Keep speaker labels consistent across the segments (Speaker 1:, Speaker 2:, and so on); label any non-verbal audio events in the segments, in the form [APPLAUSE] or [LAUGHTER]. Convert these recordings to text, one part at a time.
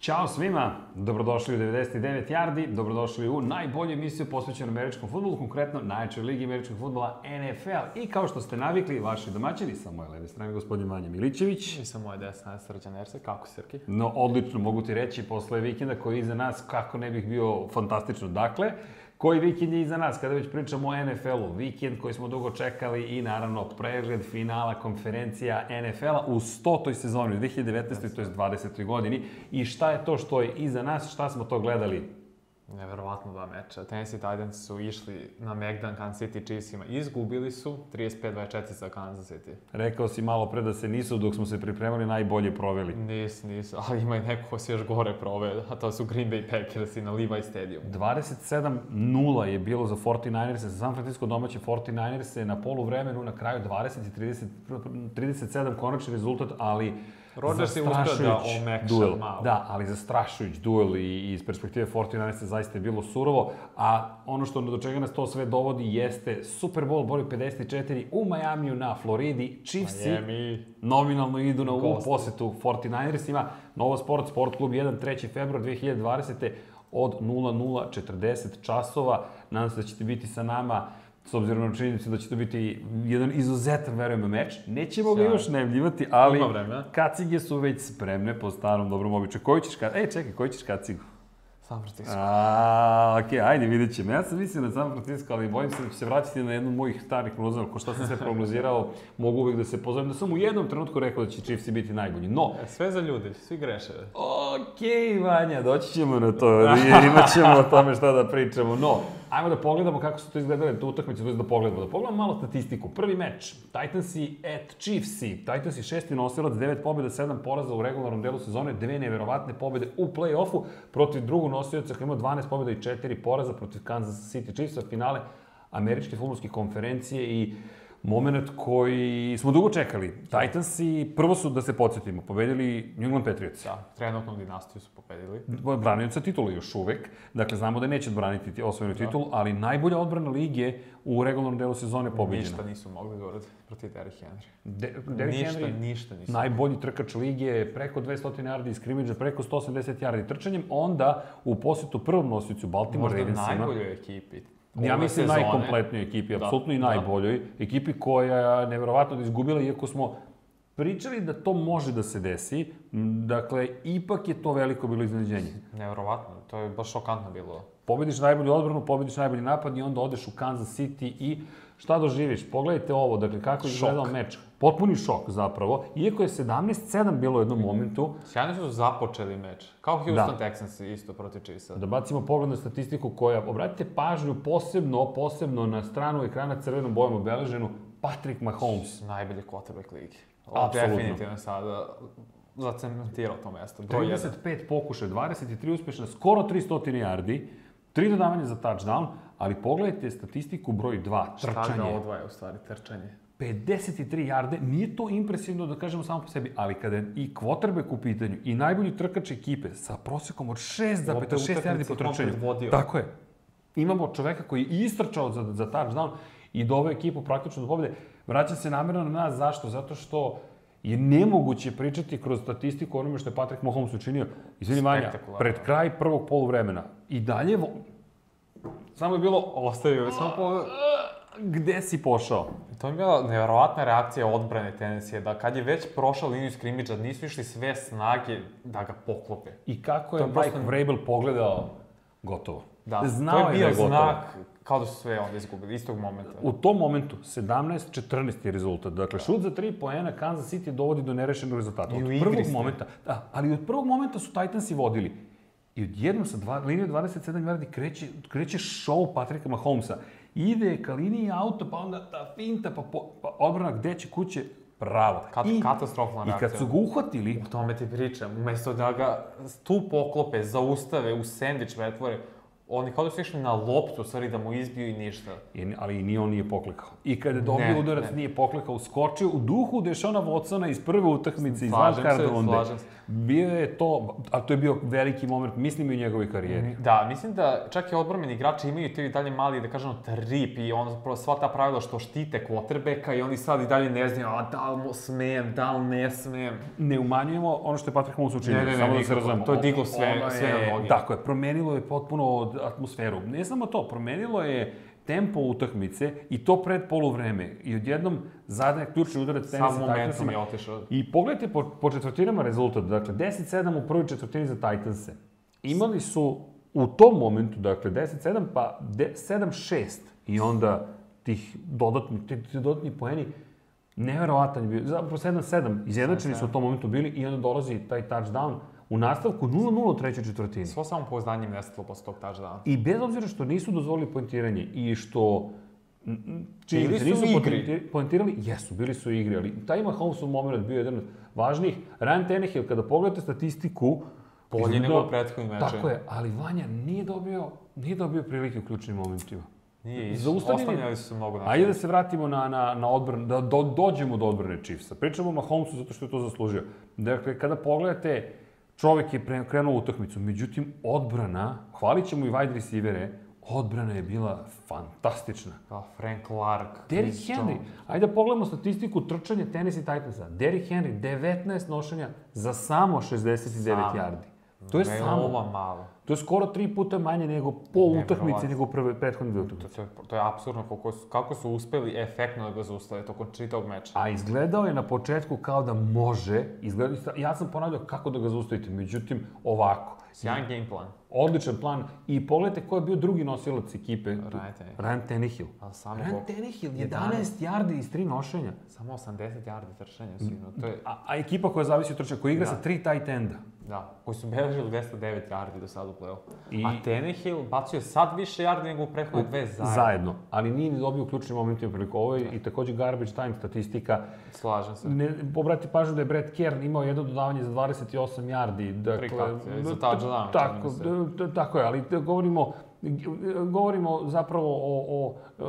Speaker 1: Ćao svima, dobrodošli u 99 Jardi, dobrodošli u najbolju emisiju posvećenu američkom futbolu, konkretno najjačoj ligi američkog futbola NFL. I kao što ste navikli, vaši domaćini sa moje leve strane, gospodin Manja Milićević.
Speaker 2: I sa moje desna Srđan Erse, kako Srki?
Speaker 1: No, odlično, mogu ti reći, posle vikenda koji je iza nas, kako ne bih bio fantastično. Dakle, koji vikend je iza nas, kada već pričamo o NFL-u, vikend koji smo dugo čekali i naravno pregled finala konferencija NFL-a u 100. sezoni, u 2019. to je 20. godini. I šta je to što je iza nas, šta smo to gledali?
Speaker 2: Neverovatno dva meča. Tennessee Titans su išli na Megdan Kansas City Chiefsima. Izgubili su 35-24 za Kansas City.
Speaker 1: Rekao si malo pre da se nisu, dok smo se pripremali, najbolje proveli.
Speaker 2: Nis, nis, ali ima i neko ko se još gore proveo, a to su Green Bay Packers i na Levi Stadium.
Speaker 1: 27-0 je bilo za 49erse, za San Francisco domaće 49erse na polu vremenu, na kraju 20 i 30, 37 konačni rezultat, ali
Speaker 2: Rodgers je uspeo da
Speaker 1: zastrašujuć
Speaker 2: omekša
Speaker 1: duel.
Speaker 2: malo.
Speaker 1: Da, ali zastrašujuć duel i, i iz perspektive 49ersa zaista je bilo surovo, a ono što do čega nas to sve dovodi jeste Super Bowl broj 54 u Majamiju na Floridi, Chiefs
Speaker 2: Miami.
Speaker 1: nominalno idu na ovu
Speaker 2: Gosti.
Speaker 1: posetu 49ersima. Nova Sport, Sport klub 1, 3. februar 2020. od 00.40 časova. Nadam se da ćete biti sa nama s obzirom na činjenicu da će to biti jedan izuzetan, verujem, meč. Nećemo ga
Speaker 2: Sjajno.
Speaker 1: još najavljivati, ali
Speaker 2: Ima vremena.
Speaker 1: kacige su već spremne po starom dobrom običaju. Koji ćeš kacigu? E, čekaj, koji ćeš kacigu?
Speaker 2: San Francisco.
Speaker 1: A, okej, ajde, vidjet ćemo. Ja sam mislio na San Francisco, ali bojim se da ću se vratiti na jednu od mojih starih prognoza, ko šta sam sve prognozirao, mogu uvek da se pozovem, da sam u jednom trenutku rekao da će Chiefs biti najbolji, no...
Speaker 2: E, Sve za ljudi, svi greše.
Speaker 1: Okej, Vanja, doći ćemo na [LAUGHS] to, jer imat ćemo o tome šta da pričamo, no... Ajmo da pogledamo kako su to izgledale te utakmice, to jest da pogledamo. Da pogledamo malo statistiku. Prvi meč, Titansi at Chiefsi. Titansi šesti nosilac, devet pobjeda, sedam poraza u regularnom delu sezone, dve neverovatne pobjede u play-offu protiv drugog nosioca koji ima 12 pobjeda i četiri poraza protiv Kansas City Chiefsa, finale američke futbolske konferencije i moment koji smo dugo čekali. Titansi, prvo su, da se podsjetimo, pobedili New England Patriots.
Speaker 2: Da, trenutnu dinastiju su pobedili.
Speaker 1: Branioca titula još uvek. Dakle, znamo da neće braniti ti- osvojenu
Speaker 2: Da.
Speaker 1: titulu, ali najbolja odbrana lige u regularnom delu sezone pobeđena.
Speaker 2: Ništa nisu mogli da urade protiv Derrick Henry.
Speaker 1: De, Derrick
Speaker 2: ništa,
Speaker 1: Henry,
Speaker 2: ništa nisu.
Speaker 1: najbolji trkač lige, preko 200 yardi iz skrimidža, preko 180 yardi trčanjem, onda u posetu prvom nosiocu Baltimore
Speaker 2: Možda
Speaker 1: Ravensima.
Speaker 2: najboljoj ekipi.
Speaker 1: Ja
Speaker 2: ove
Speaker 1: mislim
Speaker 2: sezone.
Speaker 1: najkompletnijoj ekipi,
Speaker 2: Da,
Speaker 1: apsolutno i
Speaker 2: da.
Speaker 1: najboljoj. Ekipi koja je nevjerovatno da izgubila, iako smo pričali da to može da se desi, m, dakle, ipak je to veliko bilo iznenađenje.
Speaker 2: Neverovatno, to je baš šokantno bilo.
Speaker 1: Pobediš najbolju odbranu, pobediš najbolji napad i onda odeš u Kansas City i šta doživiš? Pogledajte ovo, dakle kako je
Speaker 2: Šok.
Speaker 1: izgledao meč. Potpuni šok zapravo, iako je 17-7 bilo u jednom momentu,
Speaker 2: Sjajno su započeli meč. Kao Houston Texans isto protiv Chiefsa.
Speaker 1: da bacimo pogled na statistiku koja, obratite pažnju posebno, posebno na stranu ekrana crvenom bojom obeleženu, Patrick Mahomes.
Speaker 2: Najbolji quarterback ligi.
Speaker 1: Apsolutno.
Speaker 2: Apsolutno. Definitivno sada zacementirao to mesto. Broj jedan.
Speaker 1: 35 pokušaja, 23 uspešna, skoro 300 yardi, 3 dodavanja za touchdown, ali pogledajte statistiku broj 2,
Speaker 2: Šta ga
Speaker 1: trčanje.
Speaker 2: odvaja u stvari, trčanje.
Speaker 1: 53 jarde, nije to impresivno da kažemo samo po sebi, ali kada je i quarterback u pitanju i najbolji trkač ekipe sa prosekom od 6,6
Speaker 2: utakmici
Speaker 1: jardi po trčanju.
Speaker 2: komplet vodio.
Speaker 1: Tako je. Imamo čoveka koji je istrčao za, za touchdown i doveo ekipu praktično do pobjede. Vraćam se namjerno na nas, zašto? Zato što je nemoguće pričati kroz statistiku o onome što je Patrick Mahomes učinio. Izvini Vanja,
Speaker 2: Spektakularno.
Speaker 1: pred kraj prvog poluvremena. I dalje, vo... samo je bilo,
Speaker 2: Ostavio je samo po...
Speaker 1: gde si pošao?
Speaker 2: To je bila nevjerovatna reakcija odbrane Tennessee, da kad je već prošao liniju skrimidža, nisu išli sve snage da ga poklope.
Speaker 1: I kako je
Speaker 2: To je prosto-
Speaker 1: Mike Vrabel pogledao, gotovo.
Speaker 2: Da,
Speaker 1: Znao
Speaker 2: to je
Speaker 1: da
Speaker 2: bio
Speaker 1: gotovo.
Speaker 2: znak kao da su sve onda izgubili, istog momenta.
Speaker 1: U tom momentu, 17-14 je rezultat. Dakle, šut za tri poena Kansas City dovodi do nerešenog rezultata.
Speaker 2: I u
Speaker 1: Od
Speaker 2: igri
Speaker 1: prvog
Speaker 2: ste.
Speaker 1: momenta, da, ali od prvog momenta su Titansi vodili. I odjednom sa dva, linije 27 yardi kreće, kreće show Patrika Mahomesa. Ide ka liniji auto, pa onda ta finta, pa, po, pa odbrana gde će kuće, pravo.
Speaker 2: Kat,
Speaker 1: I,
Speaker 2: katastrofalna
Speaker 1: I
Speaker 2: reakcija.
Speaker 1: kad su ga uhvatili,
Speaker 2: O tome ti pričam. Umesto da ga tu poklope, zaustave, u sandvič pretvore, Oni kao da su išli na loptu, u stvari da mu izbiju i ništa.
Speaker 1: I, ali i ni on nije poklekao. I kada je dobio
Speaker 2: Ne,
Speaker 1: udarac
Speaker 2: ne.
Speaker 1: nije poklekao, uskočio u duhu Dešona Watsona iz prve utakmice iz
Speaker 2: Slažem
Speaker 1: wildcard
Speaker 2: se,
Speaker 1: runde.
Speaker 2: slažem se.
Speaker 1: Bio je to, a to je bio veliki moment, mislim i u njegovoj karijeri.
Speaker 2: Da, mislim da čak i odbrambeni igrači imaju te i dalje mali, da kažemo, trip i on zapravo sva ta pravila što štite quarterbacka i oni sad i dalje ne znaju, a da li mu smem, da li ne smem.
Speaker 1: Ne umanjujemo ono što je Patrick Mahomes učinio,
Speaker 2: Ne, ne, ne,
Speaker 1: samo da se
Speaker 2: nikako.
Speaker 1: razumemo.
Speaker 2: To je
Speaker 1: O-
Speaker 2: diglo sve-
Speaker 1: ono
Speaker 2: sve
Speaker 1: je-
Speaker 2: na noge.
Speaker 1: Tako je, promenilo je potpuno od- atmosferu. Ne samo to, promenilo je tempo utakmice i to pred poluvreme. I odjednom zadnje ključni udarac tenisa
Speaker 2: Samo momentum je otišao.
Speaker 1: I pogledajte po, po četvrtinama rezultat, dakle 10-7 u prvoj četvrtini za Titanse. Imali su u tom momentu, dakle 10-7 pa de- 7-6 i onda tih dodatnih, ti, ti dodatni poeni neverovatan je bio, zapravo 7-7, izjednačeni su u tom momentu bili i onda dolazi taj touchdown u nastavku 0-0 u trećoj četvrtini.
Speaker 2: Svo samo pouznanjem nestalo posle tog touchdowna.
Speaker 1: I bez obzira što nisu dozvolili poentiranje i što m, m,
Speaker 2: Bili
Speaker 1: činjenice
Speaker 2: su
Speaker 1: nisu
Speaker 2: u igri.
Speaker 1: poenti- poentirali, jesu, bili su u igri, ali taj Mahomesov moment bio jedan od važnijih. Ryan Tannehill, kada pogledate statistiku,
Speaker 2: Bolje
Speaker 1: izgleda-
Speaker 2: nego u prethodnim mečima.
Speaker 1: da Tako je, ali Vanja nije dobio, nije dobio prilike u ključnim momentima.
Speaker 2: Nije išao.
Speaker 1: Zaustavljen je-
Speaker 2: Ostavljali su mnogo na
Speaker 1: Ajde da se vratimo na, na, na odbran, da do, dođemo do odbrane Chiefsa. Pričamo o Mahomesu zato što je to zaslužio. Dakle, kada pogledate, čovek je pre- krenuo u utakmicu, međutim, odbrana, hvalit ćemo i wide receivere, odbrana je bila fantastična.
Speaker 2: Kao Pa, Frank Clark.
Speaker 1: Derrick
Speaker 2: Chris
Speaker 1: Henry,
Speaker 2: Jones.
Speaker 1: ajde da pogledamo statistiku trčanja Tennessee Titansa. Derrick Henry, 19 nošenja za samo 69
Speaker 2: Samo.
Speaker 1: yardi. To je
Speaker 2: Veoma
Speaker 1: samo,
Speaker 2: malo.
Speaker 1: to je skoro tri puta manje nego po
Speaker 2: Nevjerovatno.
Speaker 1: utakmici, nego prve, prethodne dve utakmice.
Speaker 2: To je, to je apsurdno kako su, kako su uspeli efektno da ga zaustave tokom čitavog meča.
Speaker 1: A izgledao je na početku kao da može, izgledao, ja sam ponavljao kako da ga zaustavite, međutim ovako.
Speaker 2: Sjajan game plan.
Speaker 1: Odličan plan i pogledajte ko je bio drugi nosilac ekipe.
Speaker 2: Ryan Tannehill.
Speaker 1: Ryan Tannehill.
Speaker 2: A samo,
Speaker 1: Ryan
Speaker 2: koliko?
Speaker 1: Tannehill, 11
Speaker 2: 11
Speaker 1: yardi iz tri nošenja.
Speaker 2: samo 80 yardi trčanja su imali. To je,
Speaker 1: A, a ekipa koja zavisi od trčanja, koja igra
Speaker 2: Da.
Speaker 1: sa tri tight enda.
Speaker 2: da, koji su beležili 209 yardi do sada u play-off.
Speaker 1: I-
Speaker 2: A Tannehill bacio je sad više yardi nego u prethodne Pa dve zajedno.
Speaker 1: Zajedno. Ali nije ni dobio ključni momentima priliku. Ovo je i takođe garbage time statistika.
Speaker 2: Slažem se.
Speaker 1: Ne, obrati pažnju da je Brad Kern imao jedno dodavanje za 28 yardi. Dakle,
Speaker 2: Tri kapcije, za
Speaker 1: t-
Speaker 2: touchdown,
Speaker 1: Tako,
Speaker 2: čini mi
Speaker 1: d- d- tako je, ali t- govorimo, g- govorimo zapravo o, o e,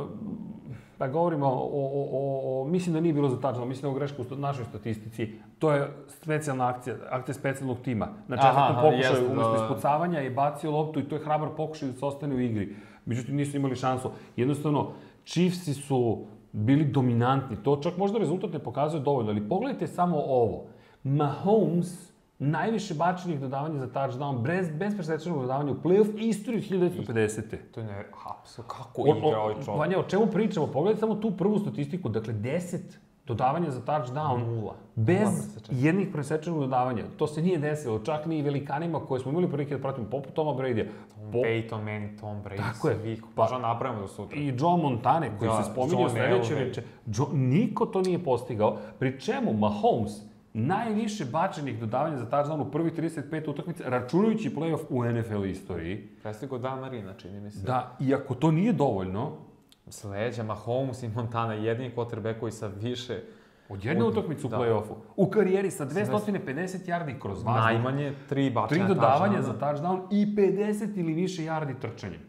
Speaker 1: pa govorimo o, o, o, o, mislim da nije bilo za touchdown, mislim da je u grešku u sta- našoj statistici. To je specijalna akcija, akcija specijalnog tima. Znači, Na
Speaker 2: Aha,
Speaker 1: četvrtom
Speaker 2: aha,
Speaker 1: pokušaju,
Speaker 2: jeste, da,
Speaker 1: umesto
Speaker 2: da.
Speaker 1: ispucavanja, je bacio loptu i to je hrabar pokušaj da se ostane u igri. Međutim, nisu imali šansu. Jednostavno, Chiefsi su bili dominantni. To čak možda rezultat ne pokazuje dovoljno, ali pogledajte samo ovo. Mahomes, najviše bačenih dodavanja za touchdown, bez, bez presečenog dodavanja u play-off istoriju od 1950.
Speaker 2: To je ne... Hapsu, kako
Speaker 1: O,
Speaker 2: igra ovaj
Speaker 1: o,
Speaker 2: čovjek.
Speaker 1: Vanja, o čemu pričamo? Pogledajte samo tu prvu statistiku. Dakle, 10 dodavanja za touchdown.
Speaker 2: Nula. Nula
Speaker 1: Bez
Speaker 2: presečenih.
Speaker 1: jednih presečenog dodavanja. To se nije desilo. Čak ni velikanima koje smo imali prilike da pratimo, poput Toma Brady. Po...
Speaker 2: Peyton Manning, Tom Brady,
Speaker 1: Tako je.
Speaker 2: svi.
Speaker 1: Pa-
Speaker 2: Pa, Možda napravimo do sutra.
Speaker 1: I Joe Montane, koji
Speaker 2: Da,
Speaker 1: se spominje u
Speaker 2: John
Speaker 1: sledećoj
Speaker 2: Elway.
Speaker 1: reče. Jo, niko to nije postigao. Pri čemu Mahomes najviše bačenih dodavanja za touchdown u prvi 35 utakmica, računajući playoff u NFL istoriji.
Speaker 2: Prestigo Dan Marina, čini mi se.
Speaker 1: Da, iako to nije dovoljno,
Speaker 2: Sledeća, Mahomes i Montana, jedini quarterback koji sa više
Speaker 1: Od jedne
Speaker 2: Od-
Speaker 1: utakmice u
Speaker 2: da.
Speaker 1: play-offu. U karijeri sa 250 yardi kroz vazduh,
Speaker 2: Najmanje tri
Speaker 1: tri
Speaker 2: bačanja
Speaker 1: dodavanja
Speaker 2: touchdowna.
Speaker 1: za touchdown i 50 ili više yardi trčanjem.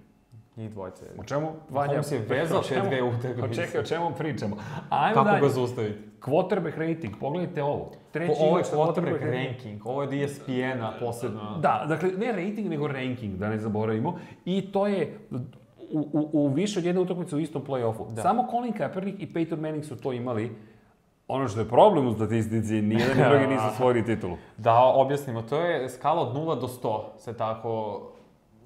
Speaker 2: Njih dvojice. je.
Speaker 1: O čemu,
Speaker 2: Mahomes je vezao
Speaker 1: o čemu-
Speaker 2: te dve utakmice.
Speaker 1: o Čekaj, o čemu pričamo? Ajmo Kako
Speaker 2: Kako
Speaker 1: dalje.
Speaker 2: ga zaustaviti?
Speaker 1: Quarterback rating, pogledajte ovo. Treći
Speaker 2: Po, ovo je
Speaker 1: igrač sa
Speaker 2: quarterback ranking, ovo je E DSPN-a posebno.
Speaker 1: Da, dakle, ne rating, nego ranking, da ne zaboravimo. I to je u, u, u više od jedne utakmice u istom play-offu.
Speaker 2: Da.
Speaker 1: Samo Colin Kaepernick i Peyton Manning su to imali. Ono što je problem u statistici, nijedan i
Speaker 2: [LAUGHS]
Speaker 1: drugi nisu osvojili titulu.
Speaker 2: Da, objasnimo, to je skala od 0 do 100 se tako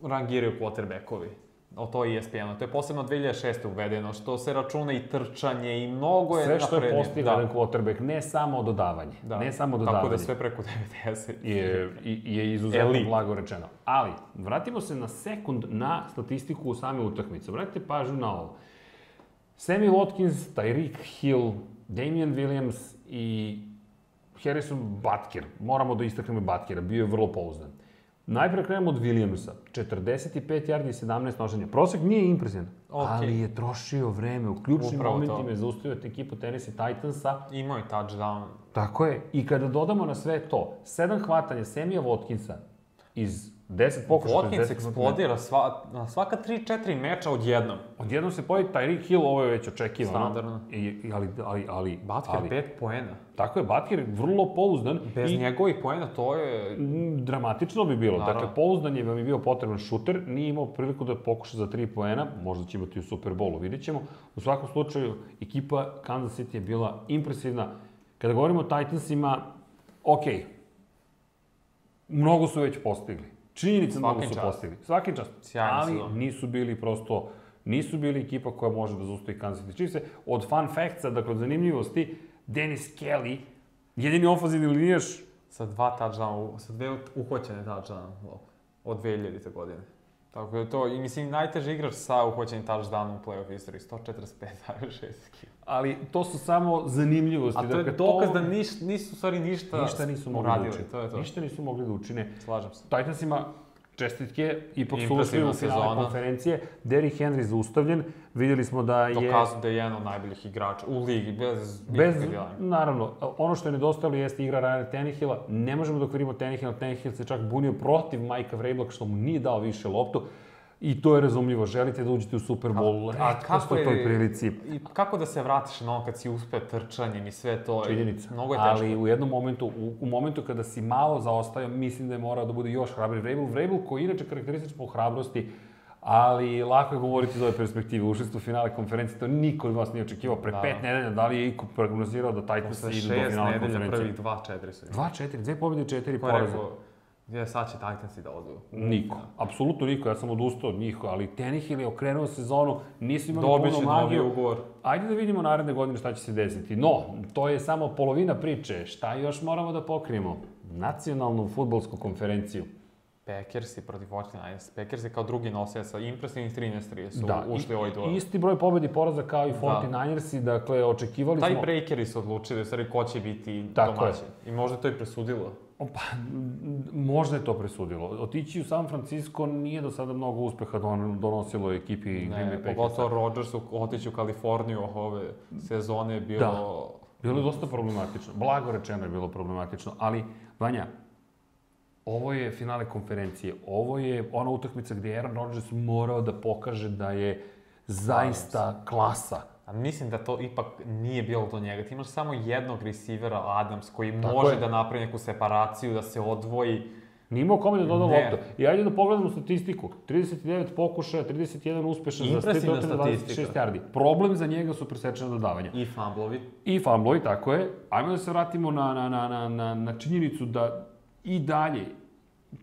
Speaker 2: rangiraju quarterbackovi. O to je E ESPN-a. To je posebno 2006. uvedeno, što se računa i trčanje i mnogo je
Speaker 1: Sve što je
Speaker 2: naprednije.
Speaker 1: postigao jedan quarterback, ne samo dodavanje,
Speaker 2: Da.
Speaker 1: ne samo
Speaker 2: Da. Tako
Speaker 1: dodavanje,
Speaker 2: da sve preko 90.
Speaker 1: je, i- je izuzetno
Speaker 2: Elite.
Speaker 1: blago rečeno. Ali, vratimo se na sekund na statistiku u same utakmice. Vratite pažnju na ovo. Sammy Watkins, Tyreek Hill, Damian Williams i Harrison Butker. Moramo da istaknemo i Butkera, bio je vrlo pouzdan. Najpre krenemo od Williamsa, 45 yardi i 17 nošenja. Prosek nije impresivan,
Speaker 2: Ok.
Speaker 1: ali je trošio vreme. U ključnim
Speaker 2: Upravo to.
Speaker 1: momentima je zaustavio ekipu Tennessee Titansa
Speaker 2: Imao je touchdown.
Speaker 1: Tako je. I kada dodamo na sve to, sedam hvatanja Semija Watkinsa iz 10 pokušaja.
Speaker 2: Watkins
Speaker 1: 60 minuta.
Speaker 2: eksplodira sva, na svaka 3-4 meča odjednom.
Speaker 1: Odjednom se pojavi Tyreek Hill, ovo je već očekivano.
Speaker 2: Standardno.
Speaker 1: I, i- ali, ali, ali, ali,
Speaker 2: Batker 5 poena.
Speaker 1: Tako je, Batker vrlo pouzdan.
Speaker 2: Bez
Speaker 1: i
Speaker 2: njegovih poena to je...
Speaker 1: Mm, dramatično bi bilo.
Speaker 2: Naravno.
Speaker 1: Dakle, pouzdan je vam je bio potreban šuter, nije imao priliku da pokuša za tri poena, možda će imati u Superbolu, vidit ćemo. U svakom slučaju, ekipa Kansas City je bila impresivna. Kada govorimo o Titansima, ok, mnogo su već postigli. Činjenica da mnogo
Speaker 2: Svaki
Speaker 1: su
Speaker 2: čast. da.
Speaker 1: postigli. Svaki čast.
Speaker 2: Sjajna
Speaker 1: ali
Speaker 2: sezona.
Speaker 1: nisu bili prosto nisu bili ekipa koja može da zaustavi Kansas City Chiefs. Od fun factsa, dakle od zanimljivosti, Dennis Kelly, jedini ofazivni linijaš
Speaker 2: sa dva touchdowna, u- sa dve ut- uhvaćene touchdowna u- od 2000. godine. Tako da je to, i mislim, najteži igrač sa uhvaćenim touchdownom u playoff istoriji, [LAUGHS] 145,6 kg.
Speaker 1: Ali to su samo zanimljivosti.
Speaker 2: A to je
Speaker 1: Dakle,
Speaker 2: dokaz da niš, nisu u stvari ništa,
Speaker 1: ništa nisu mogli da
Speaker 2: uradili,
Speaker 1: učine.
Speaker 2: to je to.
Speaker 1: Ništa nisu mogli da učine.
Speaker 2: Slažem se.
Speaker 1: Titansima čestitke, ipak su ušli
Speaker 2: Impresivna
Speaker 1: u finale
Speaker 2: sezona.
Speaker 1: konferencije. Derrick Henry zaustavljen, vidjeli smo da je...
Speaker 2: Dokazu da je jedan od najboljih igrača u ligi, bez,
Speaker 1: Bez,
Speaker 2: ikakve dileme.
Speaker 1: naravno, ono što je nedostajalo jeste igra Ryana Tannehilla. Ne možemo da okvirimo Tannehilla, Tannehill se čak bunio protiv Majka Vrabelak što mu nije dao više loptu. I to je razumljivo, želite da uđete u Super Bowl, a, kako je toj prilici?
Speaker 2: I kako da se vratiš na ono kad si uspe trčanjem i sve to?
Speaker 1: Činjenica.
Speaker 2: Pa, Mnogo je teško.
Speaker 1: Ali u jednom momentu, u, u momentu kada si malo zaostao, mislim da je morao da bude još hrabri Vrabel. Vrabel koji je inače karakterističan po hrabrosti, ali lako je govoriti iz ove perspektive. Ušli ste u finale konferencije, to niko od vas nije očekivao. Pre
Speaker 2: Da.
Speaker 1: pet nedelja, da li je iko prognozirao da Titans
Speaker 2: Sa
Speaker 1: idu do
Speaker 2: šest
Speaker 1: finale
Speaker 2: nedelja
Speaker 1: konferencije?
Speaker 2: prvih dva četiri su imali.
Speaker 1: 2-4, dve pobjede, četiri
Speaker 2: Ko je
Speaker 1: poraza.
Speaker 2: rekao, Da. je, sad će Titansi da odu.
Speaker 1: Niko, apsolutno niko, ja sam odustao od njih, ali Tenih je okrenuo sezonu, nisu imali
Speaker 2: Dobit će
Speaker 1: puno
Speaker 2: novi
Speaker 1: magiju.
Speaker 2: ugovor.
Speaker 1: Ajde da vidimo naredne godine šta će se desiti. No, to je samo polovina priče. Šta još moramo da pokrijemo? Nacionalnu futbolsku konferenciju.
Speaker 2: Packersi protiv 49ers. Packersi kao drugi nose sa impresivnih 13-3 su
Speaker 1: Da,
Speaker 2: ušli
Speaker 1: i-
Speaker 2: u ovaj duel.
Speaker 1: Isti broj pobedi poraza kao i 49ersi, dakle, očekivali
Speaker 2: Taj
Speaker 1: smo...
Speaker 2: breakeri su odlučili, u stvari, ko će biti
Speaker 1: Tako
Speaker 2: domaćin. I možda je to i presudilo.
Speaker 1: Opa, m, možda je to presudilo. Otići u San Francisco nije do sada mnogo uspeha don- donosilo ekipi Green Bay
Speaker 2: Ne,
Speaker 1: Packersa.
Speaker 2: pogotovo Rodgersu otići u Kaliforniju ove sezone je bilo...
Speaker 1: Bilo je dosta problematično. Blago rečeno je bilo problematično, ali, Vanja, ovo je finale konferencije. Ovo je ona utakmica gdje je Aaron Rodgers morao da pokaže da je zaista klasa.
Speaker 2: A mislim da to ipak nije bilo do njega. Ti imaš samo jednog receivera, Adams, koji
Speaker 1: Tako
Speaker 2: može
Speaker 1: je.
Speaker 2: da napravi neku separaciju, da se odvoji.
Speaker 1: Nije imao kome da doda
Speaker 2: Ne.
Speaker 1: loptu. I ajde da pogledamo statistiku. 39 pokušaja, 31 uspešan za
Speaker 2: Impresivna
Speaker 1: 126
Speaker 2: statistika.
Speaker 1: yardi. Problem za njega su presečena dodavanja.
Speaker 2: I fumblovi.
Speaker 1: I fumblovi, tako je. Ajmo da se vratimo na, na, na, na, na, na činjenicu da i dalje,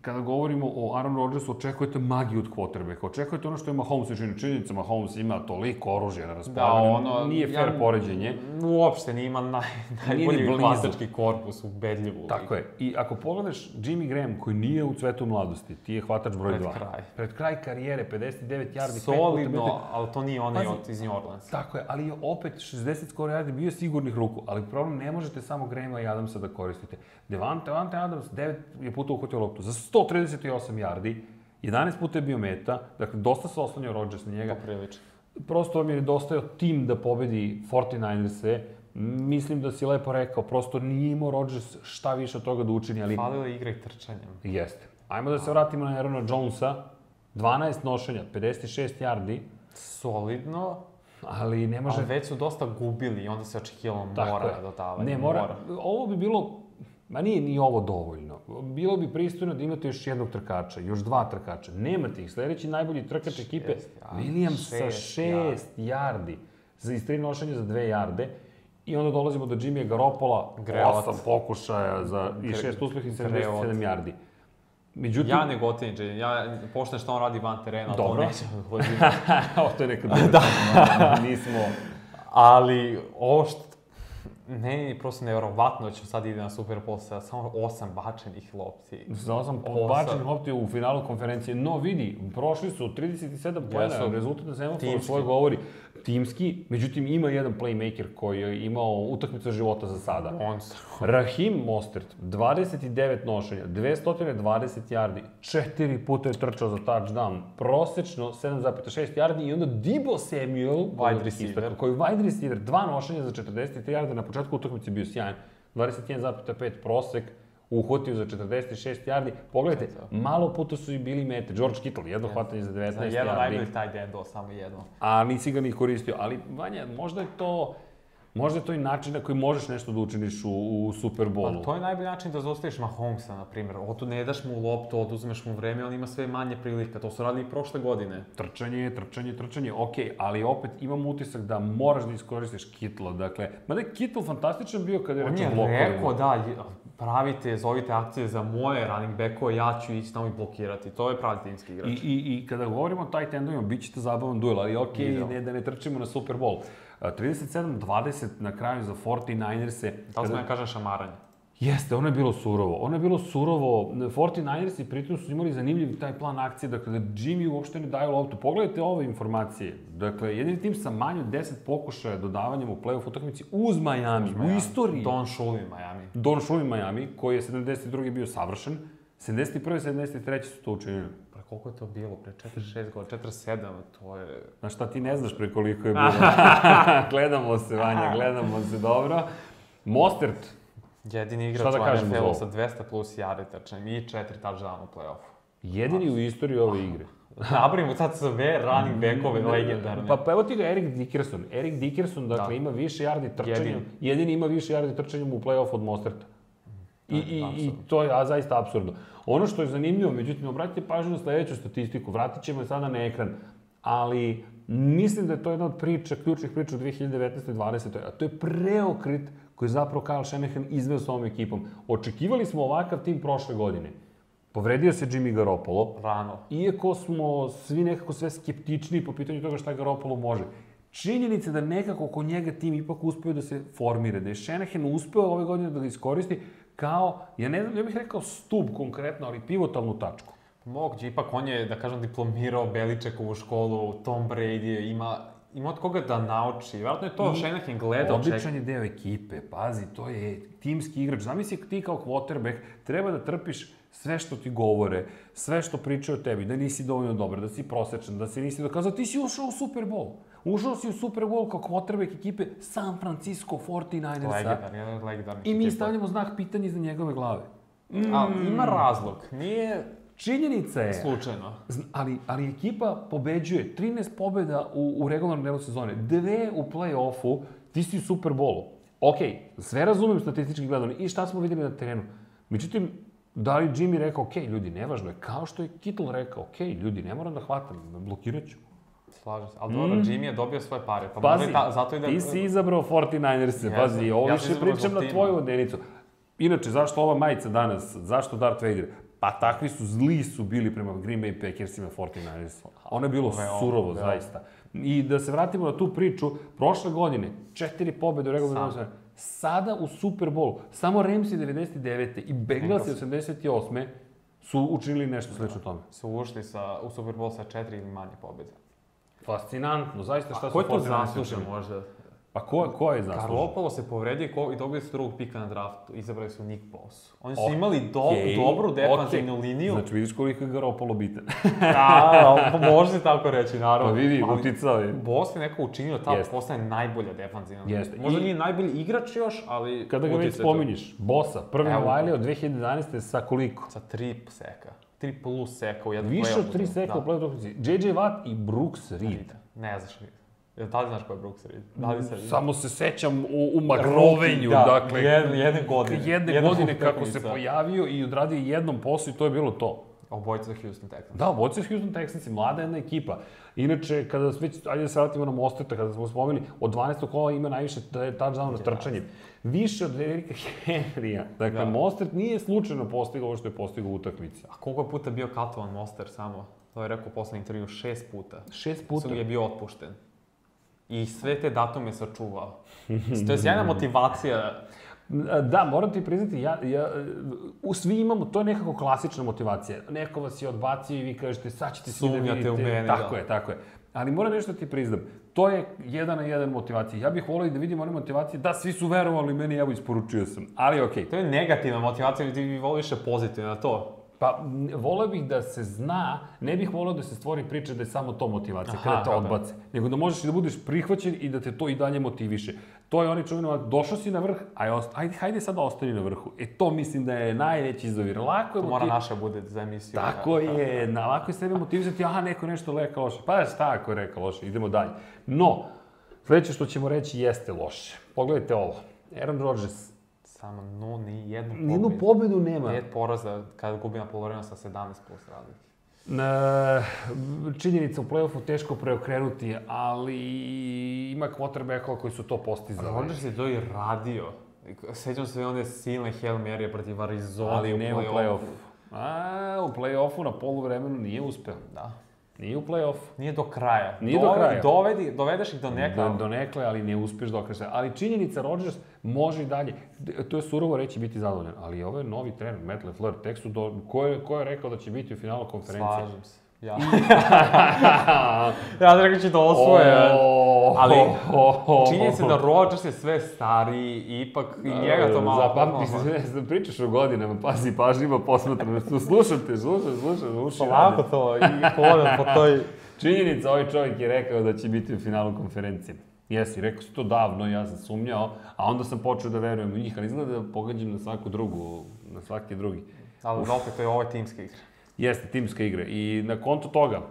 Speaker 1: kada govorimo o Aaron Rodgersu, očekujete magiju od quarterbacka. Očekujete ono što je Mahomes učinio. Činjenica, Mahomes ima toliko oružja na raspolaganju.
Speaker 2: Da, ono,
Speaker 1: Nije
Speaker 2: ja-
Speaker 1: fair poređenje.
Speaker 2: Uopšte nije ima naj,
Speaker 1: ni
Speaker 2: najbolji
Speaker 1: blizu.
Speaker 2: glasački korpus ubedljivo.
Speaker 1: Tako je. I ako pogledaš Jimmy Graham, koji nije u cvetu mladosti, ti je hvatač broj 2.
Speaker 2: Pred kraj.
Speaker 1: Pred kraj karijere, 59 yardi,
Speaker 2: Solidno, ali to nije onaj
Speaker 1: Pazi.
Speaker 2: od iz New Orleansa.
Speaker 1: Tako je, ali je opet 60 skoro yardi bio sigurnih ruku, ali problem ne možete samo Grahama i Adamsa da koristite. Devante, Devante Adams 9 je puta uhvatio loptu za 138 yardi, 11 puta je bio meta, dakle dosta se oslanjao Rodgers na njega.
Speaker 2: Poprilično.
Speaker 1: Prosto vam je nedostajao tim da pobedi 49erse, mislim da si lepo rekao, prosto nije imao Rodgers šta više od toga da učini, ali
Speaker 2: Falilo je igra i trčanjem.
Speaker 1: jeste. Ajmo da se vratimo na Aarona Jonesa, 12 nošenja, 56 yardi,
Speaker 2: Solidno,
Speaker 1: ali ne može
Speaker 2: ali već su dosta gubili i onda se očekivalo
Speaker 1: Tako
Speaker 2: mora
Speaker 1: je.
Speaker 2: na dodavanje.
Speaker 1: Ne, mora, Ovo bi bilo, ma nije ni ovo dovoljno. Bilo bi pristojno da imate još jednog trkača, još dva trkača. Nemate ih. Sljedeći najbolji trkač ekipe,
Speaker 2: yardi.
Speaker 1: Williams sa
Speaker 2: Šest
Speaker 1: šest yardi. Za iz tri nošenja za dve yarde. I onda dolazimo do Jimmyja Garopola,
Speaker 2: Greot.
Speaker 1: osam pokušaja za, i
Speaker 2: Gre-
Speaker 1: šest uspeh i 77
Speaker 2: Greot.
Speaker 1: yardi. Međutim, [LAUGHS]
Speaker 2: Ja ne gotivim Jaden, ja pošten što on radi van terena,
Speaker 1: Dobro.
Speaker 2: to neće da gotivim.
Speaker 1: o, to je
Speaker 2: [LAUGHS]
Speaker 1: neka druga
Speaker 2: Da.
Speaker 1: tema, nismo...
Speaker 2: Ali ovo što... Meni je prosto nevjerovatno da ću sad ide na Super Bowl sa samo osam bačenih lopti.
Speaker 1: Za osam
Speaker 2: Ovo
Speaker 1: bačenih
Speaker 2: sad.
Speaker 1: lopti u finalu konferencije. No vidi, prošli su 37 pojena,
Speaker 2: Jesu.
Speaker 1: rezultat na semaforu
Speaker 2: Timski.
Speaker 1: svoje govori. Timski, međutim ima jedan playmaker koji je imao utakmicu života za sada.
Speaker 2: On
Speaker 1: Rahim Mostert, 29 nošenja, 220 yardi, četiri puta je trčao za touchdown, prosečno 7,6 yardi i onda Debo Samuel, koji je
Speaker 2: receiver.
Speaker 1: istakao, koji je wide receiver, dva nošenja za 43 yardi, na početku utakmice je bio sjajan, 21,5 prosek, uhvatio za 46 yardi. Pogledajte, malo puta su i bili mete. George Kittle, jedno hvatanje za 19
Speaker 2: Za
Speaker 1: yardi.
Speaker 2: jedan najbolji taj dendo, samo jedno.
Speaker 1: a nisi ga ni koristio. Ali, Vanja, možda je to... Možda je to i način na koji možeš nešto da učiniš u, u Super
Speaker 2: Pa
Speaker 1: Bowlu.
Speaker 2: to je najbolji način da zaustaviš Mahomesa, na primjer. Otu ne daš mu loptu, oduzmeš mu vreme, on ima sve manje prilika. To su radili i prošle godine.
Speaker 1: Trčanje, trčanje, trčanje, ok, ali opet imam utisak da moraš da iskoristiš Kitla, dakle, mada je Kittle fantastičan bio kada je
Speaker 2: On
Speaker 1: reč
Speaker 2: je
Speaker 1: o blokovima.
Speaker 2: rekao, da, je- pravite, zovite akcije za moje running backove, ja ću ići tamo i blokirati. To je pravi timski igrač.
Speaker 1: I, i, I kada govorimo o tight endovima, bit će to zabavan duel, ali ok,
Speaker 2: Idealno.
Speaker 1: ne, da ne trčimo na Super Bowl. A, 37-20 na kraju za 49erse.
Speaker 2: Da li
Speaker 1: Kada-
Speaker 2: smo ja kažem šamaranje?
Speaker 1: Jeste, ono je bilo surovo. Ono je bilo surovo. 49ersi pritom su imali zanimljiv taj plan akcije, dakle da Jimmy uopšte ne daje loptu. Pogledajte ove informacije. Dakle, jedini tim sa manje od 10 pokušaja dodavanjem u play-off utakmici uz Miami, u istoriji.
Speaker 2: Don Shuley, Miami.
Speaker 1: Don Shuley Miami, koji je 72. bio savršen, 71. i 73. su to učinili.
Speaker 2: Pre koliko je to bilo? Pre 4-6 godina, 4-7, to je...
Speaker 1: Znaš šta, ti ne znaš pre koliko je [LAUGHS] bilo. gledamo se, Vanja, gledamo se dobro. Mostert,
Speaker 2: Jedini
Speaker 1: Šta
Speaker 2: igrač
Speaker 1: da
Speaker 2: u
Speaker 1: kažemo za ovo?
Speaker 2: NFL-u sa 200 plus jari trčanjem i 4 touchdowna u play-offu. [LAUGHS]
Speaker 1: jedini u istoriji ove igre.
Speaker 2: Nabrimo sad sve running backove legendarne.
Speaker 1: Pa, pa evo ti ga Erik Dickerson. Erik Dickerson, dakle,
Speaker 2: Da.
Speaker 1: ima više jardi trčanjem. Jedini.
Speaker 2: Jedini.
Speaker 1: ima više jardi trčanjem u play-off od Mosterta. I, i, I
Speaker 2: apsurdno.
Speaker 1: to je a, zaista absurdno. Ono što je zanimljivo, međutim, obratite pažnju na sledeću statistiku, vratit ćemo je sada na ekran, ali mislim da je to jedna od priča, ključnih priča u 2019. i 2020. A to je preokrit koji je zapravo Kyle Shanahan izveo sa ovom ekipom. Očekivali smo ovakav tim prošle godine. Povredio se Jimmy Garoppolo,
Speaker 2: Rano.
Speaker 1: iako smo svi nekako sve skeptični po pitanju toga šta Garoppolo može, činjenica je da nekako oko njega tim ipak uspeo da se formira, da je Shanahan uspeo ove godine da ga iskoristi kao, ja ne znam, ja bih rekao stup konkretno, ali pivotalnu tačku.
Speaker 2: Moguće, ipak on je, da kažem, diplomirao Beličekovu školu, Tom Brady je, ima, ima od koga da nauči. Vjerojatno je to Shanahan gledao, čekao.
Speaker 1: Odličan je deo ekipe, pazi, to je timski igrač. Zamisli ti kao quarterback, treba da trpiš sve što ti govore, sve što pričaju o tebi, da nisi dovoljno dobar, da si prosečan, da se nisi dokazao, ti si ušao u Super Bowl. Ušao si u Super Bowl kao quarterback ekipe San Francisco 49ersa
Speaker 2: Legendarni, jedan od legendarnih
Speaker 1: i mi Mm.
Speaker 2: ekipa.
Speaker 1: stavljamo znak pitanja iza njegove glave.
Speaker 2: A, ima razlog, nije
Speaker 1: Činjenica je,
Speaker 2: slučajno.
Speaker 1: Zn- ali, ali ekipa pobeđuje 13 pobjeda u, u regularnom delu sezone, dve u play-offu, ti si u Super Bowlu. Ok, sve razumem statistički gledano i šta smo videli na terenu. Međutim, da li Jimmy rekao, ok, ljudi, nevažno je, kao što je Kittle rekao, ok, ljudi, ne moram da hvatam, blokirat ću.
Speaker 2: Slažem se. Ali dobro, Jimmy je dobio svoje pare, pa možda
Speaker 1: Mm. Pazi,
Speaker 2: i ta, zato i da...
Speaker 1: ti si izabrao 49ers-e, pazi,
Speaker 2: Jesam.
Speaker 1: ovo
Speaker 2: Ja sam
Speaker 1: više
Speaker 2: izabrao
Speaker 1: pričam
Speaker 2: zbog
Speaker 1: na
Speaker 2: tima.
Speaker 1: tvoju odenicu. Inače, zašto ova majica danas? Zašto Darth Vader? Pa takvi su, zli su bili prema Green Bay Packersima 49ers. Ono je bilo
Speaker 2: Veoma,
Speaker 1: surovo,
Speaker 2: veoma.
Speaker 1: zaista. I da se vratimo na tu priču, prošle godine, četiri pobjede u regularnom
Speaker 2: Samo.
Speaker 1: sezoni, sada u Super Bowlu, samo Ramsey 99. i Bengalsi 88. su učinili nešto slično tome.
Speaker 2: Su ušli sa, u Super Bowl sa četiri ili manje pobjede.
Speaker 1: Fascinantno, zaista šta
Speaker 2: A
Speaker 1: su
Speaker 2: ko je to
Speaker 1: 49ersi
Speaker 2: zaslužen
Speaker 1: učinili.
Speaker 2: možda?
Speaker 1: Pa ko, ko je zaslužen?
Speaker 2: Garoppolo se povredio ko, i dobili su drugog pika na draftu. Izabrali su Nick Bosa. Oni su
Speaker 1: Ok,
Speaker 2: imali do, dobru defanzivnu
Speaker 1: ok.
Speaker 2: liniju.
Speaker 1: Znači vidiš koliko je Garoppolo bitan.
Speaker 2: Da, može se tako reći,
Speaker 1: Pa
Speaker 2: naravno.
Speaker 1: [LAUGHS] vidi,
Speaker 2: Ali
Speaker 1: uticao je.
Speaker 2: Bos je neko učinio da ta
Speaker 1: Jeste.
Speaker 2: postane najbolja defanzivna.
Speaker 1: Jeste.
Speaker 2: Možda
Speaker 1: I-
Speaker 2: nije najbolji igrač još, ali
Speaker 1: Kada ga već
Speaker 2: utjecaj je to.
Speaker 1: spominješ, Bosa, prvi
Speaker 2: Evo.
Speaker 1: Wiley od 2011. sa koliko?
Speaker 2: Sa tri seka. Tri plus seka u jednom
Speaker 1: Više od
Speaker 2: play-offu.
Speaker 1: 3 seka u
Speaker 2: Da.
Speaker 1: play-off utakmici. JJ Watt i Brooks Reed.
Speaker 2: Ne znaš. Jel da li znaš ko je Brooks Reed? Da li se
Speaker 1: Samo se sećam u, u
Speaker 2: Rookie,
Speaker 1: Magrovenju,
Speaker 2: da,
Speaker 1: dakle,
Speaker 2: jedne, jedne godine.
Speaker 1: jedne
Speaker 2: Jedna
Speaker 1: godine kako se
Speaker 2: utakmica.
Speaker 1: pojavio i odradio jednom poslu i to je bilo to.
Speaker 2: Obojica za Houston Texans.
Speaker 1: Da, Voci Houston Texans je mlada jedna ekipa. Inače, kada smo već, ajde da se vratimo na Mostreta, kada smo spomenuli, od 12. kola ima najviše t- touchdowna na trčanjem. Više od Erika Henrya. Dakle,
Speaker 2: Da.
Speaker 1: Mostert nije slučajno postigao ovo što je postigao u utakmici.
Speaker 2: A koliko je puta bio katovan Monster samo? To je rekao u poslednjem intervju šest puta.
Speaker 1: Šest
Speaker 2: puta.
Speaker 1: puta.
Speaker 2: je bio otpušten. I sve te datume sačuvao. To je
Speaker 1: [LAUGHS]
Speaker 2: sjajna motivacija.
Speaker 1: Da, moram ti priznati, ja, ja, e, u svi imamo, to je nekako klasična motivacija. Neko vas je odbacio i vi kažete, sad ćete svi da
Speaker 2: Sumnjate
Speaker 1: vidite.
Speaker 2: u mene,
Speaker 1: tako
Speaker 2: da.
Speaker 1: je, tako je. Ali moram nešto ti priznam, to je jedan na jedan motivacija. Ja bih volio i da vidim one motivacije, da, svi su verovali meni, evo, isporučio sam. Ali okej,
Speaker 2: To je negativna motivacija, ti voliš je pozitivna to.
Speaker 1: Pa, n- voleo bih da se zna, ne bih voleo da se stvori priča da je samo to motivacija,
Speaker 2: Aha,
Speaker 1: kada te
Speaker 2: kapiram.
Speaker 1: odbace. Nego da možeš i da budeš prihvaćen i da te to i dalje motiviše. To je onaj čuveno, došao si na vrh, aj, ost- ajde, hajde sad da ostani na vrhu. E to mislim da je najveći izovir. Lako je
Speaker 2: To mora da,
Speaker 1: motiv-
Speaker 2: naša bude za emisiju.
Speaker 1: Tako je, na lako je sebe motivisati, aha, neko nešto leka loše. Pa šta ako je reka loše, idemo dalje. No, sledeće što ćemo reći jeste loše. Pogledajte ovo. Aaron Rodgers,
Speaker 2: Samo no, ni jednu pobedu.
Speaker 1: nijednu pobedu nema.
Speaker 2: Pet poraza kada gubi na polovremenu sa 17 plus razlike.
Speaker 1: Na, činjenica u play-offu teško preokrenuti, ali ima quarterbackova koji su to postizali.
Speaker 2: Rodgers je to i radio. Sećam se one silne Hail Marije protiv Arizone
Speaker 1: Ali ne u
Speaker 2: play-offu.
Speaker 1: play-offu. A, u play-offu na poluvremenu nije uspeo.
Speaker 2: Da.
Speaker 1: Nije u play-offu.
Speaker 2: Nije do kraja.
Speaker 1: Nije do kraja. Da,
Speaker 2: Dovedi, dovedeš ih do nekada.
Speaker 1: Do, donekle, ali ne uspeš da okreneš. Ali činjenica, Rodgers može i dalje. D- To je surovo reći biti zadovoljan, ali ovo je novi trener, Matt LeFleur, tek su do... Ko je, ko je rekao da će biti u finalu konferencije?
Speaker 2: Slažem se. Ja. [LAUGHS] ja da rekao ću da osvoje. ali Činje se da Rodgers je sve stariji i ipak i njega to malo...
Speaker 1: Zapamti [LAUGHS] se, se pričaš o godinama, pazi, pažljivo posmatram, slušam te, slušam, slušam, uši
Speaker 2: Polako
Speaker 1: rade.
Speaker 2: to i hodam po toj...
Speaker 1: Činjenica, ovaj čovjek je rekao da će biti u finalu konferencije. Jesi, rekao si to davno, ja sam sumnjao, a onda sam počeo da verujem u njih, ali izgleda da pogađam na svaku drugu, na svaki drugi.
Speaker 2: Ali opet to je ovaj ovo je timska igra.
Speaker 1: Jeste, timska igra. I na konto toga,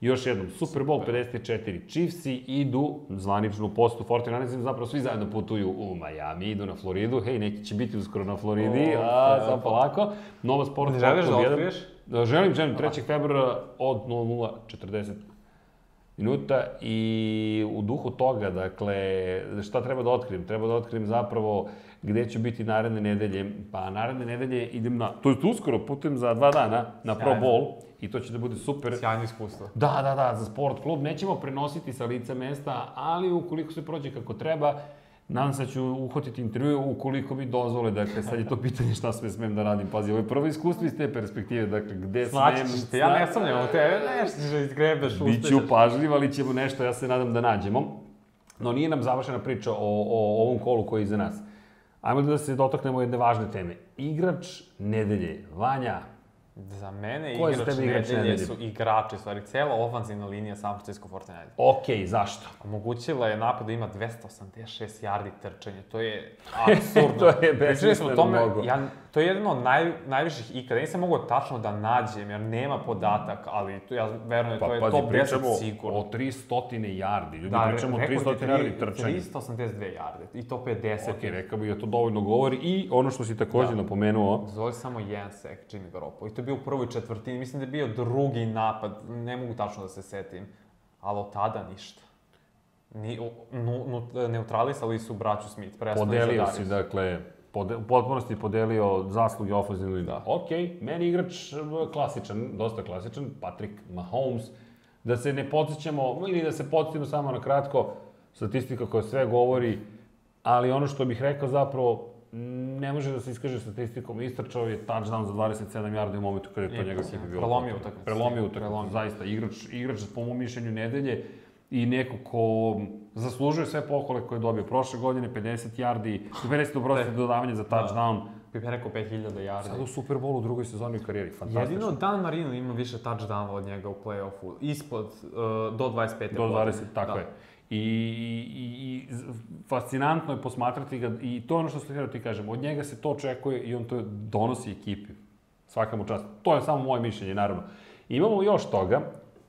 Speaker 1: još jednom, Super Bowl 54, Chiefsi idu zvanično u postu 49 zapravo svi zajedno putuju u Miami, idu na Floridu, hej, neki će biti uskoro na Floridi,
Speaker 2: O,
Speaker 1: a
Speaker 2: da.
Speaker 1: samo polako. Nova sport...
Speaker 2: Ne želiš da
Speaker 1: Popov jedan-
Speaker 2: otkriješ?
Speaker 1: Da, želim, želim, 3. februara od 00.40 minuta i u duhu toga, dakle, šta treba da otkrijem? Treba da otkrijem zapravo gde ću biti naredne nedelje. Pa naredne nedelje idem na, to je uskoro, putujem za dva dana na Pro
Speaker 2: Sjajno.
Speaker 1: Bowl i to će da bude super.
Speaker 2: Sjajno iskustvo.
Speaker 1: Da, da, da, za sport klub. Nećemo prenositi sa lica mesta, ali ukoliko se prođe kako treba, nadam se da ću uhvatiti intervju ukoliko mi dozvole. Dakle, sad je to pitanje šta sve smem da radim. Pazi, ovo je prvo iskustvo iz te perspektive. Dakle, gde
Speaker 2: Slaći
Speaker 1: smem...
Speaker 2: ćeš te, ja ne sumnjam u tebe, nešto ćeš da izgrebeš,
Speaker 1: Biću
Speaker 2: uspešeš.
Speaker 1: pažljiv, ali ćemo nešto, ja se nadam da nađemo. No nije nam završena priča o, o ovom kolu koji je iza nas. Ajmo da se dotaknemo jedne važne teme. Igrač nedelje, Vanja.
Speaker 2: Za mene
Speaker 1: Ko je za
Speaker 2: igrač
Speaker 1: tebe igrač
Speaker 2: nedelje
Speaker 1: nedelje?
Speaker 2: su igrači, u stvari cela ofanzivna linija San Francisco 49.
Speaker 1: Ok, zašto?
Speaker 2: Omogućila je napad da ima 286 jardi trčanja. To je
Speaker 1: [LAUGHS]
Speaker 2: absurdno.
Speaker 1: To je
Speaker 2: Pričali smo o
Speaker 1: besmisleno
Speaker 2: tome,
Speaker 1: mnogo.
Speaker 2: ja, to je jedno od naj, najviših ikada. Nisam mogao tačno da nađem, jer nema podatak, ali to, ja verujem
Speaker 1: Pa
Speaker 2: da to je top 10 sigurno.
Speaker 1: o 300 jardi. Ljudi,
Speaker 2: Da,
Speaker 1: pričamo o
Speaker 2: rekao ti
Speaker 1: 300
Speaker 2: tri-
Speaker 1: jardi trčanja.
Speaker 2: 382 jarde i to 50.
Speaker 1: Ok, rekao bih da to dovoljno govori. I ono što si
Speaker 2: Da.
Speaker 1: takođe napomenuo,
Speaker 2: Zove samo jedan sek Jimmy Garoppolo. I to je bio u prvoj četvrtini. Mislim da je bio drugi napad. Ne mogu tačno da se setim. Ali od tada ništa. Ni, o- nu, nu, neutralisali su braću Smith. Presno
Speaker 1: podelio si, dakle, pode, u potpunosti podelio zasluge ofenzivne linije. Da. Ok, meni igrač e, klasičan, dosta klasičan, Patrick Mahomes. Da se ne podsjećamo, ili da se podsjetimo samo na kratko, statistika koja sve govori, ali ono što bih rekao zapravo, m, ne može da se iskaže statistikom, istračao je touchdown za 27 yarda u momentu kada je to
Speaker 2: I
Speaker 1: njegov
Speaker 2: mislim,
Speaker 1: ekipa bilo.
Speaker 2: prelomio
Speaker 1: potrebno.
Speaker 2: utakmicu.
Speaker 1: Prelomio utakmicu,
Speaker 2: Prelomio.
Speaker 1: zaista. Igrač, igrač po mom mišljenju nedelje i neko ko zaslužuje sve pohvale koje je dobio prošle godine, 50 yardi, 50 oprosti dodavanje za touchdown.
Speaker 2: Bih rekao 5000 jardi.
Speaker 1: E, da. Sad u Super Bowlu u drugoj sezoni u karijeri, fantastično.
Speaker 2: Jedino Dan Marino ima više touchdownova od njega u play-offu. Ispod, uh, do 25.
Speaker 1: Do 20, tako
Speaker 2: da.
Speaker 1: je. I, i, i z- fascinantno je posmatrati ga i to je ono što sam htio da ti kažem, od njega se to očekuje i on to donosi ekipi. Svaka mu čast. To je samo moje mišljenje, naravno. Imamo još toga,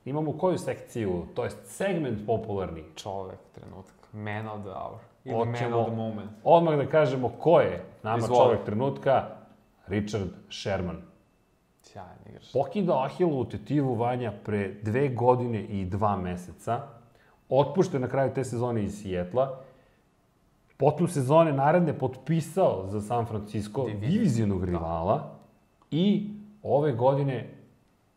Speaker 1: imamo koju sekciju, to je segment popularni.
Speaker 2: Čovek, trenutak. Man of the hour. Ili
Speaker 1: Hoćemo-
Speaker 2: man of the moment.
Speaker 1: Odmah da kažemo ko je nama
Speaker 2: Izvoli.
Speaker 1: čovek trenutka, Richard Sherman.
Speaker 2: Sjajan igrač.
Speaker 1: Pokidao Ahilovu tetivu Vanja pre dve godine i dva meseca. Otpušten na kraju te sezone iz Sijetla. Potom sezone naredne potpisao za San Francisco
Speaker 2: Diviziju.
Speaker 1: divizionog rivala. I ove godine,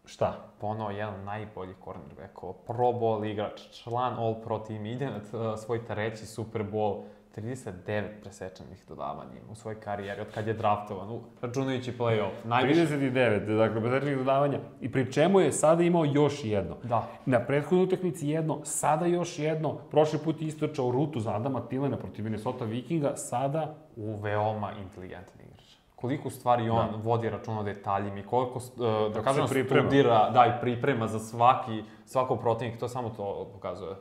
Speaker 1: šta?
Speaker 2: ponovo jedan od najboljih cornerbackova, pro bowl igrač, član all pro team, ide na t- svoj treći Super Bowl, 39 presečanih dodavanja ima u svojoj karijeri od kad je draftovan, u- računajući play-off. Najviše...
Speaker 1: 39, dakle, bezrečnih dodavanja. I pri čemu je sada imao još jedno.
Speaker 2: Da.
Speaker 1: Na prethodnoj utakmici jedno, sada još jedno. Prošli put je istočao rutu za Adama Tilena protiv Minnesota Vikinga, sada
Speaker 2: U veoma inteligentan igrač. koliko u stvari on vodi računa o detaljima i koliko, s- e, da kažem,
Speaker 1: Da. se priprema.
Speaker 2: studira, da, i priprema za svaki, svako protivnik, to samo to pokazuje.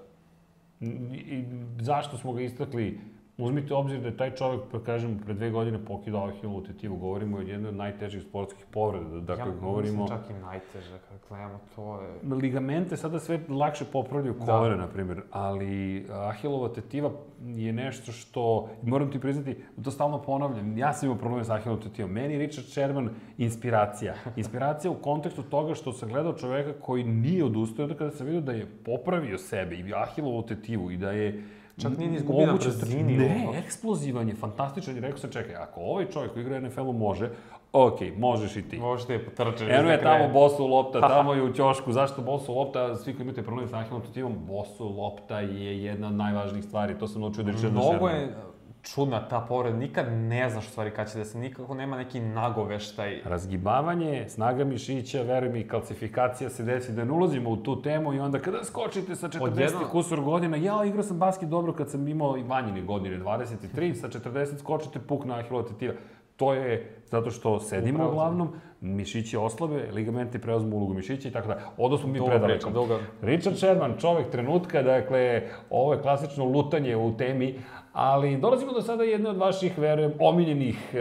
Speaker 1: I, i zašto smo ga istakli? Uzmite u obzir da je taj čovjek, pa kažem, pre dve godine pokidao ahilnu tetivu, govorimo o jednoj od najtežih sportskih povreda, dakle
Speaker 2: mislim
Speaker 1: govorimo...
Speaker 2: čak i najteže, kad gledamo, to je...
Speaker 1: Ligamente sada sve lakše
Speaker 2: Da.
Speaker 1: popravljaju kolere, na primjer, ali e, ahilova tetiva je nešto što, moram ti priznati, to stalno ponavljam, ja sam imao probleme sa ahilovom tetivom. Meni je Richard Sherman inspiracija. Inspiracija u kontekstu toga što sam gledao čoveka koji nije odustao, onda kada sam vidio da je popravio sebe i ahilovu tetivu i da je
Speaker 2: Čak nije ni izgubio na
Speaker 1: moguće-
Speaker 2: brzini,
Speaker 1: Ne,
Speaker 2: ono.
Speaker 1: eksplozivan je, fantastičan je. Rekao sam, čekaj, ako ovaj čovjek koji igra u NFL-u može, okej, možeš i ti.
Speaker 2: Možda je potrčeš
Speaker 1: Eno E, je
Speaker 2: za
Speaker 1: tamo
Speaker 2: kraj.
Speaker 1: bosu lopta, tamo je u ćošku. Zašto bosu lopta? Svi koji imate problem sa ahilom tetivom, bosu lopta je jedna od najvažnijih stvari. To sam naučio da rečem
Speaker 2: Mnogo je čudna ta povreda, nikad ne znaš u stvari kad će da se, nikako nema neki nagoveštaj.
Speaker 1: Razgibavanje, snaga mišića, veruj mi, kalcifikacija se desi da ne ulazimo u tu temu i onda kada skočite sa 40
Speaker 2: Odjednom.
Speaker 1: kusur godina, ja igrao sam basket dobro kad sam imao i vanjine godine, 23, sa 40 skočite puk na ahilova tetiva. To je zato što sedimo
Speaker 2: Upravo.
Speaker 1: uglavnom, mišići oslabe, ligamenti preuzmu ulogu mišića i tako da. Odo smo mi
Speaker 2: Dugo
Speaker 1: predaleko.
Speaker 2: priča, dugo.
Speaker 1: Richard Sherman, čovek trenutka, dakle, ovo je klasično lutanje u temi, ali dolazimo do sada jedne od vaših, verujem, omiljenih, e,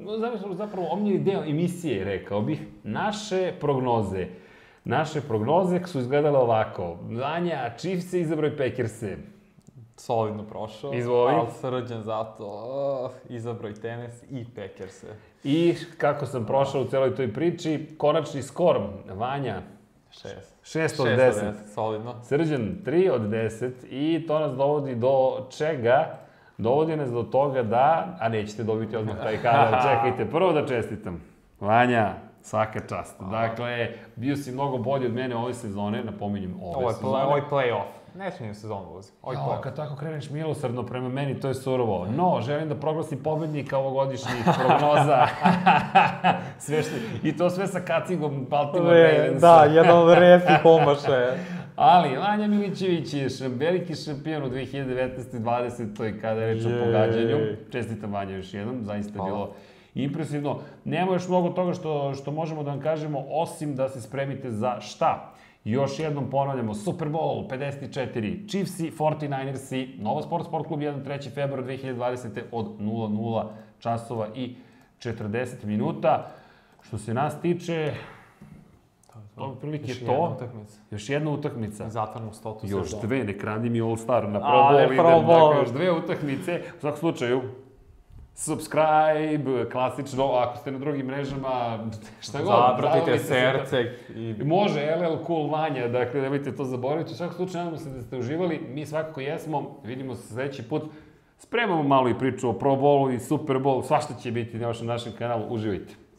Speaker 1: no, zapravo, zapravo omiljeni deo emisije, rekao bih, naše prognoze. Naše prognoze su izgledale ovako. Anja, Chiefs je izabrao i Packers-e.
Speaker 2: Solidno prošao,
Speaker 1: Izvoli.
Speaker 2: ali srđan zato, oh, izabrao i tenis i Packers-e.
Speaker 1: I kako sam prošao u celoj toj priči, konačni skor, Vanja,
Speaker 2: Šest.
Speaker 1: 6 od 10.
Speaker 2: 610, solidno.
Speaker 1: Srđan 3 od 10 i to nas dovodi do čega? Dovodi nas do toga da, a nećete dobiti odmah taj
Speaker 2: [LAUGHS]
Speaker 1: kadar, čekajte, prvo da čestitam. Vanja, svaka čast. Dakle, bio si mnogo bolji od mene ove sezone, napominjem ove
Speaker 2: Ovo je,
Speaker 1: sezone.
Speaker 2: play, ovo je play-off. Ne smijem sezonu ulaziti. Ovo je
Speaker 1: Jao,
Speaker 2: play-off.
Speaker 1: kad tako kreneš milosrdno prema meni, to je surovo.
Speaker 2: Mhm.
Speaker 1: No, želim da proglasim pobednika ovogodišnjih
Speaker 2: [LAUGHS]
Speaker 1: prognoza. [LAUGHS] sve što, I to sve sa kacigom Baltimore Ravensa.
Speaker 2: da, jedan od redkih omašaja.
Speaker 1: Ali, Vanja Milićević je šam- veliki šampion u 2019. i 20. kada je reč o
Speaker 2: Jej.
Speaker 1: pogađanju. Čestitam Vanja još jednom, zaista je
Speaker 2: Hvala.
Speaker 1: bilo impresivno. Nema još mnogo toga što, što možemo da vam kažemo, osim da se spremite za šta. Još jednom ponavljamo, Super Bowl 54, Chiefs-i, 49ers-i, Nova Sport Sport Klub 1. 3. februar 2020. od 00 časova i 40 minuta. Što se nas tiče, to je prilike to. Još jedna utakmica.
Speaker 2: Zatvarnu stotu.
Speaker 1: Još
Speaker 2: sezonu.
Speaker 1: dve, ne kradi mi All Star na Pro
Speaker 2: A,
Speaker 1: Bowl,
Speaker 2: ne,
Speaker 1: idem,
Speaker 2: Pro
Speaker 1: dakle,
Speaker 2: Bowl.
Speaker 1: još dve utakmice. U svakom slučaju, subscribe, klasično, ako ste na drugim mrežama, šta god.
Speaker 2: Zavrtite
Speaker 1: zabavite se.
Speaker 2: srce i
Speaker 1: Može, LL Cool Vanja, dakle, nemojte to zaboraviti. U svakom slučaju, nadamo se da ste uživali, mi svakako jesmo, vidimo se sledeći put. Spremamo malo i priču o Pro Bowlu i Super Bowlu, svašta će biti na vašem našem kanalu, uživajte.